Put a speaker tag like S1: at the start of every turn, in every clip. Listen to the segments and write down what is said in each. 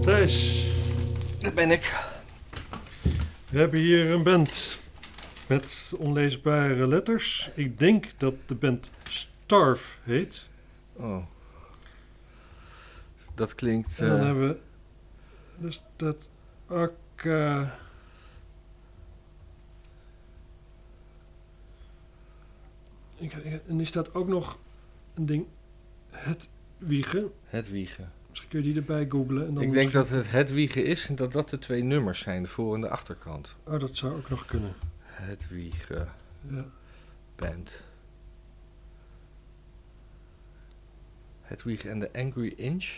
S1: Thijs,
S2: Daar ben ik.
S1: we hebben hier een band met onleesbare letters. Ik denk dat de band Starf heet.
S2: Oh. Dat klinkt...
S1: En dan
S2: eh,
S1: hebben we... Dus dat... Akka... Ik- ik- En is dat ook nog een ding... Het wiegen.
S2: Het wiegen.
S1: Misschien kun je die erbij googlen. En dan
S2: Ik denk
S1: misschien-
S2: dat het het wiegen is en dat dat de twee nummers zijn, de voor- en de achterkant.
S1: Oh, dat zou ook nog kunnen.
S2: Het wiegen
S1: Ja.
S2: band. Het wiegen en de Angry Inch.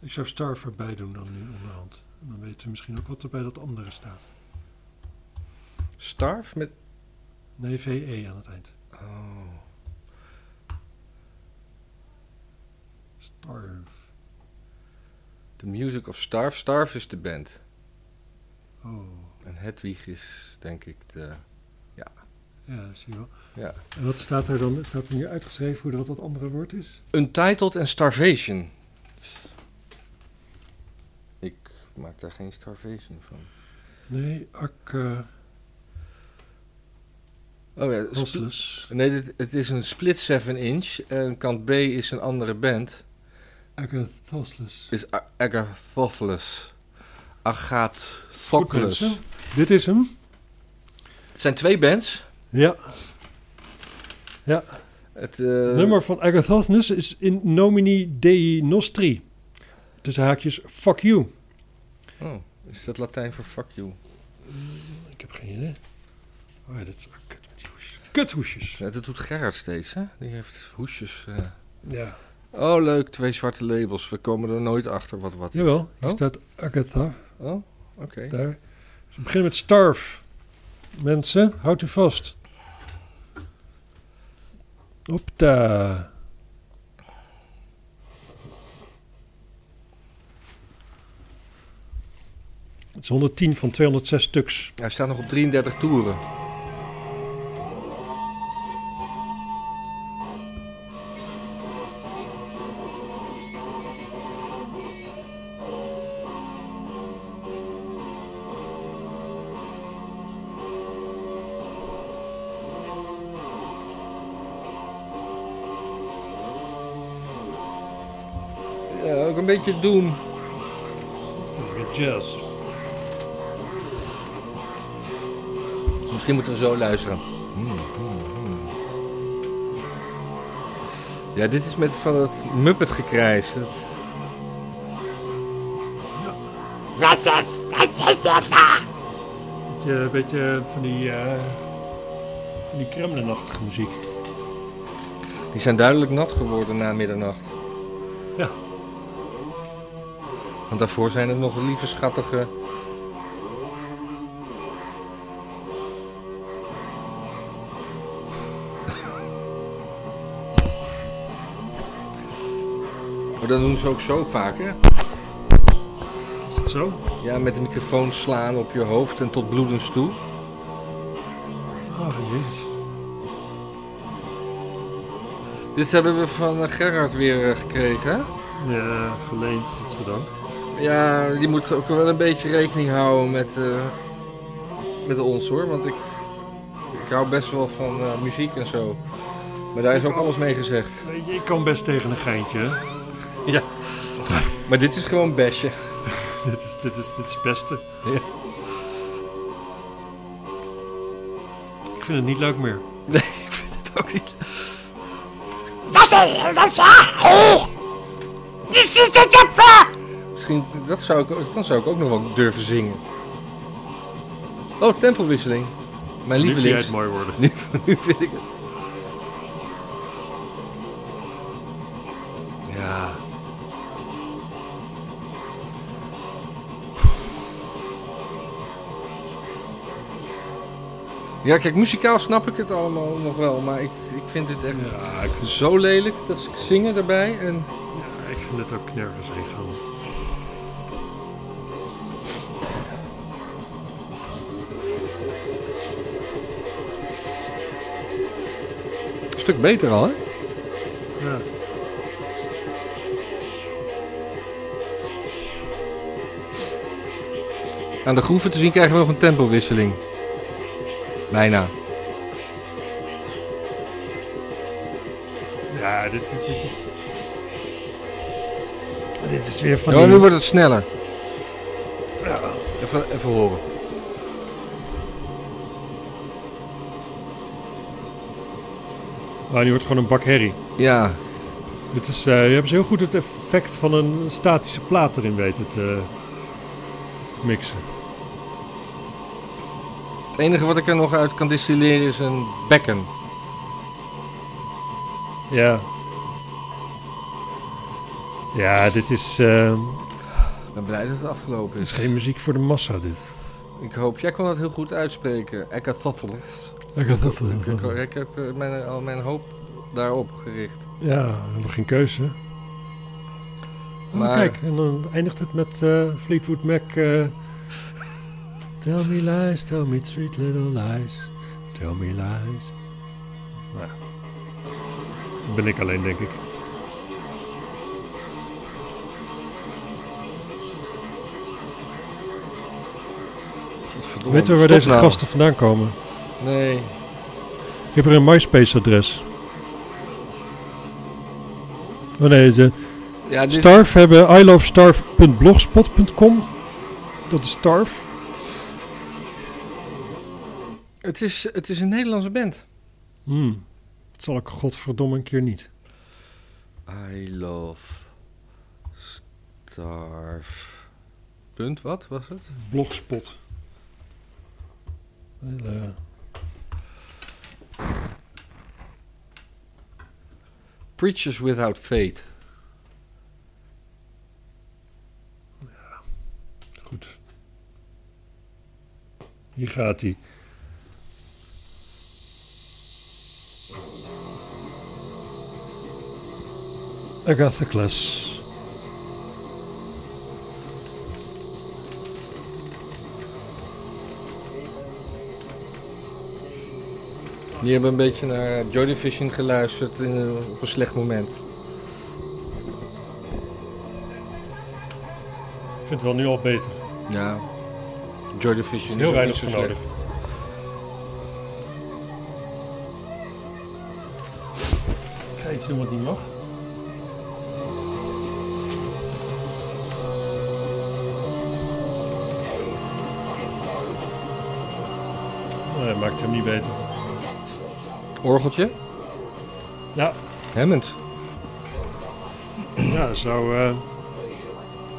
S1: Ik zou Starf erbij doen dan nu onderhand. En Dan weten we misschien ook wat er bij dat andere staat.
S2: Starf met...
S1: Nee, VE aan het eind.
S2: Oh.
S1: Starf.
S2: The Music of Starf. Starf is de band.
S1: Oh,
S2: En Hedwig is denk ik de...
S1: ja, zie je wel.
S2: Ja.
S1: En wat staat er dan? Staat er hier uitgeschreven hoe dat, dat andere woord is?
S2: Untitled en Starvation. Ik maak daar geen Starvation van.
S1: Nee, ak... eh,
S2: Oh ja, spl-
S1: Hostless.
S2: Nee, dit, het is een split 7 inch. En kant B is een andere band.
S1: Agathosles.
S2: Is A- Agathopoulos.
S1: Goed,
S2: Agathopoulos.
S1: mensen. Dit is hem?
S2: Het zijn twee bands.
S1: Ja.
S2: Eh. Het eh,
S1: nummer van Agathosnes is in nomini Dei Nostri. Tussen haakjes, fuck you.
S2: Oh, is dat Latijn voor fuck you?
S1: Ik heb geen idee. Oh ja, dat is kut met die hoesjes. Kuthoesjes.
S2: Ja, dat doet Gerard steeds, hè? Die heeft hoesjes. eh.
S1: Ja.
S2: Oh, leuk, twee zwarte labels. We komen er nooit achter wat wat is.
S1: Jawel, hier
S2: Oh.
S1: staat Agatha.
S2: Oh, oké.
S1: Daar. Dus we beginnen met Starf. Mensen, houd u vast. Opta. Het is 110 van 206 stuks.
S2: Hij staat nog op 33 toeren. Ja, ook een beetje Doom.
S1: Jazz.
S2: Misschien moeten we zo luisteren. Hmm, Ja, dit is met van dat Muppet gekrijs. Dat...
S1: Beetje, een beetje van die, eh van die Kremlinachtige muziek.
S2: Die zijn duidelijk nat geworden na middernacht.
S1: Ja.
S2: Want daarvoor zijn er nog lieve schattige... Maar Oh, dat doen ze ook zo vaak, hè?
S1: Is dat zo?
S2: Ja, met de microfoon slaan op je hoofd en tot bloedens toe.
S1: Oh, jezus.
S2: Dit hebben we van eh, Gerard weer eh, gekregen. hè?
S1: Ja, geleend, godzijdank.
S2: Ja, die moet ook wel een beetje rekening houden met, eh, met ons hoor. Want ik, ik hou best wel van eh, muziek en zo. Maar daar is ook alles mee gezegd.
S1: Weet je, ik kan best tegen een geintje, hè.
S2: Maar dit is gewoon besje.
S1: Dit is, dit is, dit is het beste.
S2: Ja.
S1: Ik vind het niet leuk meer.
S2: Nee, ik vind het ook niet. ah, oh. Misschien, dat zou ik, dan zou ik ook nog wel durven zingen. Oh, tempelwisseling. Mijn
S1: Nu vind jij
S2: lievelings.
S1: het mooi worden.
S2: Nu, nu vind ik het. Ja. Ja, kijk, muzikaal snap ik het allemaal nog wel, maar ik, ik vind dit echt
S1: Ja, ik vind,
S2: zo lelijk dat ze zingen erbij. En
S1: ja, ik vind het ook nergens heen gaan.
S2: een stuk beter al, hè?
S1: Ja.
S2: Aan de groeven te zien krijgen we nog een tempowisseling. Bijna.
S1: Ja, dit, dit, dit, dit. Dit is weer van
S2: Oh,
S1: die...
S2: nu wordt het sneller.
S1: Ja.
S2: Even, even horen.
S1: Ah, nu wordt gewoon een bak herrie.
S2: Ja,
S1: Het is, eh, je hebt heel goed het effect van een statische plaat erin weten te eh, mixen.
S2: het enige wat ik er nog uit kan distilleren is een bekken.
S1: Ja. Ja, dit is, eh,
S2: Ik ben blij dat het afgelopen
S1: dit is
S2: is.
S1: geen muziek voor de massa, dit.
S2: Ik hoop, jij kon dat heel goed uitspreken. Ekathoffelicht.
S1: Ik had dat wel-
S2: Ik, ik heb eh, mijn, al mijn hoop daarop gericht.
S1: Ja, we hebben geen keuze. Oh,
S2: Maar-
S1: Kijk, en dan eindigt het met eh, Fleetwood Mac. eh, tell me lies, tell me sweet little lies. Tell me lies. Nou, dat ben ik alleen, denk ik.
S2: Godverdomme.
S1: Weet je waar
S2: stop
S1: deze
S2: nou.
S1: gasten vandaan komen?
S2: Nee.
S1: Ik heb er een MySpace-adres. Oh nee, de
S2: Ja, dit,
S1: Starf hebben ilovestarf.blogspot.com. Dat is Starf.
S2: het, is, het is een Nederlandse band.
S1: Hmm. Dat zal ik godverdomme een keer niet.
S2: I love Starve. Punt, wat was het?
S1: Blogspot. Hele-
S2: Preachers Without Fate.
S1: Goed. Hier gaat hij. Agatha Class.
S2: Die hebben een beetje naar Joy Division geluisterd in, een- op een slecht moment.
S1: Ik vind het wel nu al beter.
S2: Ja. Joy Division is
S1: heel
S2: ook
S1: weinig
S2: niet zo
S1: voor
S2: slecht.
S1: nodig. Ik ga iets doen wat niet mag. Nee, dat maakt hem niet beter.
S2: Orgeltje?
S1: Ja,
S2: Hammond.
S1: ja daar zou eh,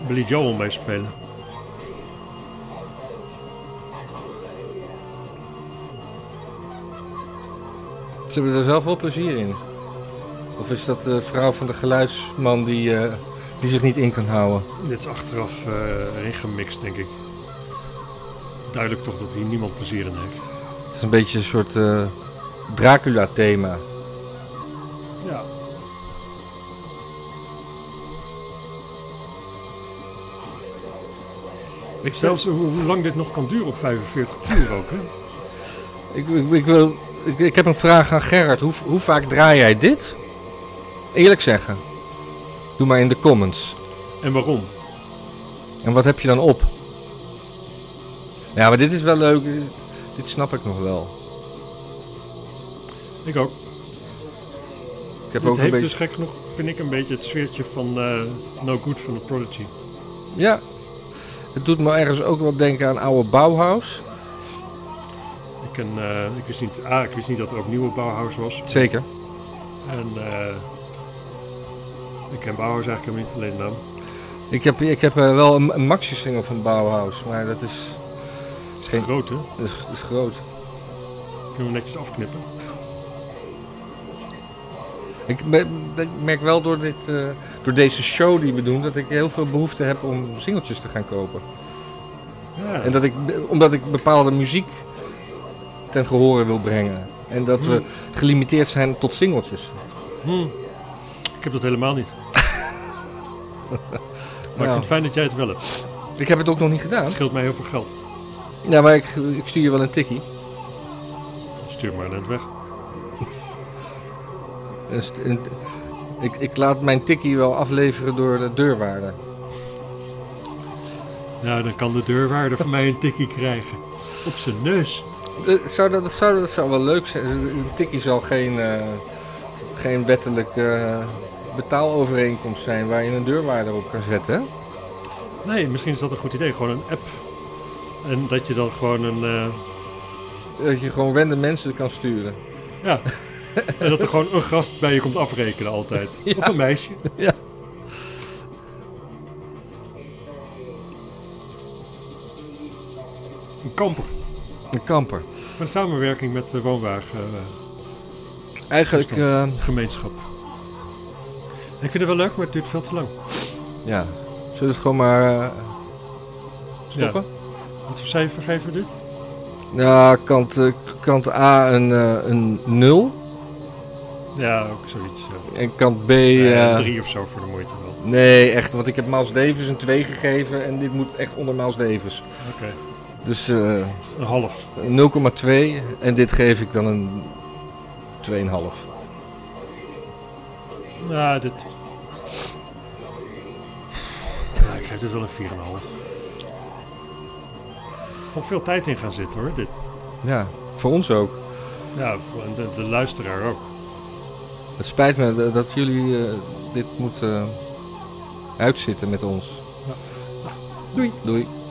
S1: Billy Joel mee spelen.
S2: Ze hebben er zelf wel plezier in. Of is dat de vrouw van de geluidsman die, eh, die zich niet in kan houden?
S1: Dit is achteraf eh erin gemixt, denk ik. Duidelijk toch dat hier niemand plezier in heeft.
S2: Het is een beetje een soort eh, Dracula-thema.
S1: Ja. Ik zelfs hoe hoe lang dit nog kan duren op 45 uur ook, hè?
S2: Ik, ik, ik wil, ik, ik heb een vraag aan Gerard. Hoe, hoe vaak draai jij dit? Eerlijk zeggen. Doe maar in de comments.
S1: En waarom?
S2: En wat heb je dan op? Ja, maar dit is wel leuk. Dit, dit snap ik nog wel.
S1: Ik ook.
S2: Ik
S1: Dit
S2: heb ook
S1: heeft
S2: een beetje...
S1: dus gek genoeg, vind ik, een beetje het sfeertje van eh, No Good van de Prodigy. dus-
S2: Ja. Het doet me ergens ook wel denken aan oude Bauhaus.
S1: Ik, ken, eh, ik, wist niet, ah, ik wist niet dat er ook nieuwe Bauhaus was.
S2: Zeker.
S1: En eh, ik ken Bauhaus eigenlijk helemaal niet alleen de naam.
S2: Ik heb, ik heb eh, wel een, een maxi-single van Bauhaus, maar dat is, is, geen,
S1: Groot, hè?
S2: dat is, dat is groot.
S1: Kunnen we netjes afknippen.
S2: Ik, me- ik merk wel door, dit, eh, door deze show die we doen dat ik heel veel behoefte heb om singeltjes te gaan kopen.
S1: Ja.
S2: En dat ik, omdat ik bepaalde muziek ten gehore wil brengen. En dat we gelimiteerd zijn tot singeltjes.
S1: Hmm. Ik heb dat helemaal niet. Maar ik vind het
S2: Nou,
S1: fijn dat jij het wel hebt.
S2: ik heb het ook nog niet
S1: Het
S2: gedaan.
S1: scheelt mij heel veel geld.
S2: Ja, maar ik, ik stuur je wel een tikkie.
S1: Stuur maar net weg.
S2: Een st- een- ik, ik laat mijn tikkie wel afleveren door de deurwaarder.
S1: Nou, dan kan de deurwaarder van mij een tikkie krijgen. Op zijn neus.
S2: Eh, Zou dat, zou dat zou wel leuk zijn. Een tikkie zal geen, eh, geen wettelijke eh, betaalovereenkomst zijn waar je een deurwaarder op kan zetten. hè?
S1: Nee, misschien is dat een goed idee. Gewoon een app. En dat je dan gewoon een... eh,
S2: Dat je gewoon random mensen kan sturen.
S1: ja. en dat er gewoon een gast bij je komt afrekenen altijd. Of een meisje.
S2: Ja.
S1: Een kamper.
S2: Een kamper.
S1: Een samenwerking met de eh, woonwagengemeenschap.
S2: Eigenlijk, eh,
S1: ik vind het wel leuk, maar het duurt veel te lang.
S2: ja. Zullen we het gewoon maar eh, stoppen?
S1: Wat voor cijfer geven we dit?
S2: Nou, kant, eh, kant A een, eh, een 0
S1: Ja, ook zoiets. eh.
S2: en kant B...
S1: Eh,
S2: eh,
S1: drie of zo voor de moeite wel. Oké.
S2: Nee, echt, want ik heb Miles Davis een 2 gegeven en dit moet echt onder Miles Davis. Dus eh,
S1: Een half.
S2: 0,2 en dit geef ik dan een 2,5.
S1: Nou, dit... Ja, ik geef dit wel een 4,5. Er is gewoon veel tijd in gaan zitten hoor, dit.
S2: Ja, voor ons ook.
S1: Ja, voor- en de, de luisteraar ook.
S2: Het spijt me dat- dat jullie eh, dit moeten uitzitten met ons.
S1: Doei.
S2: Doei.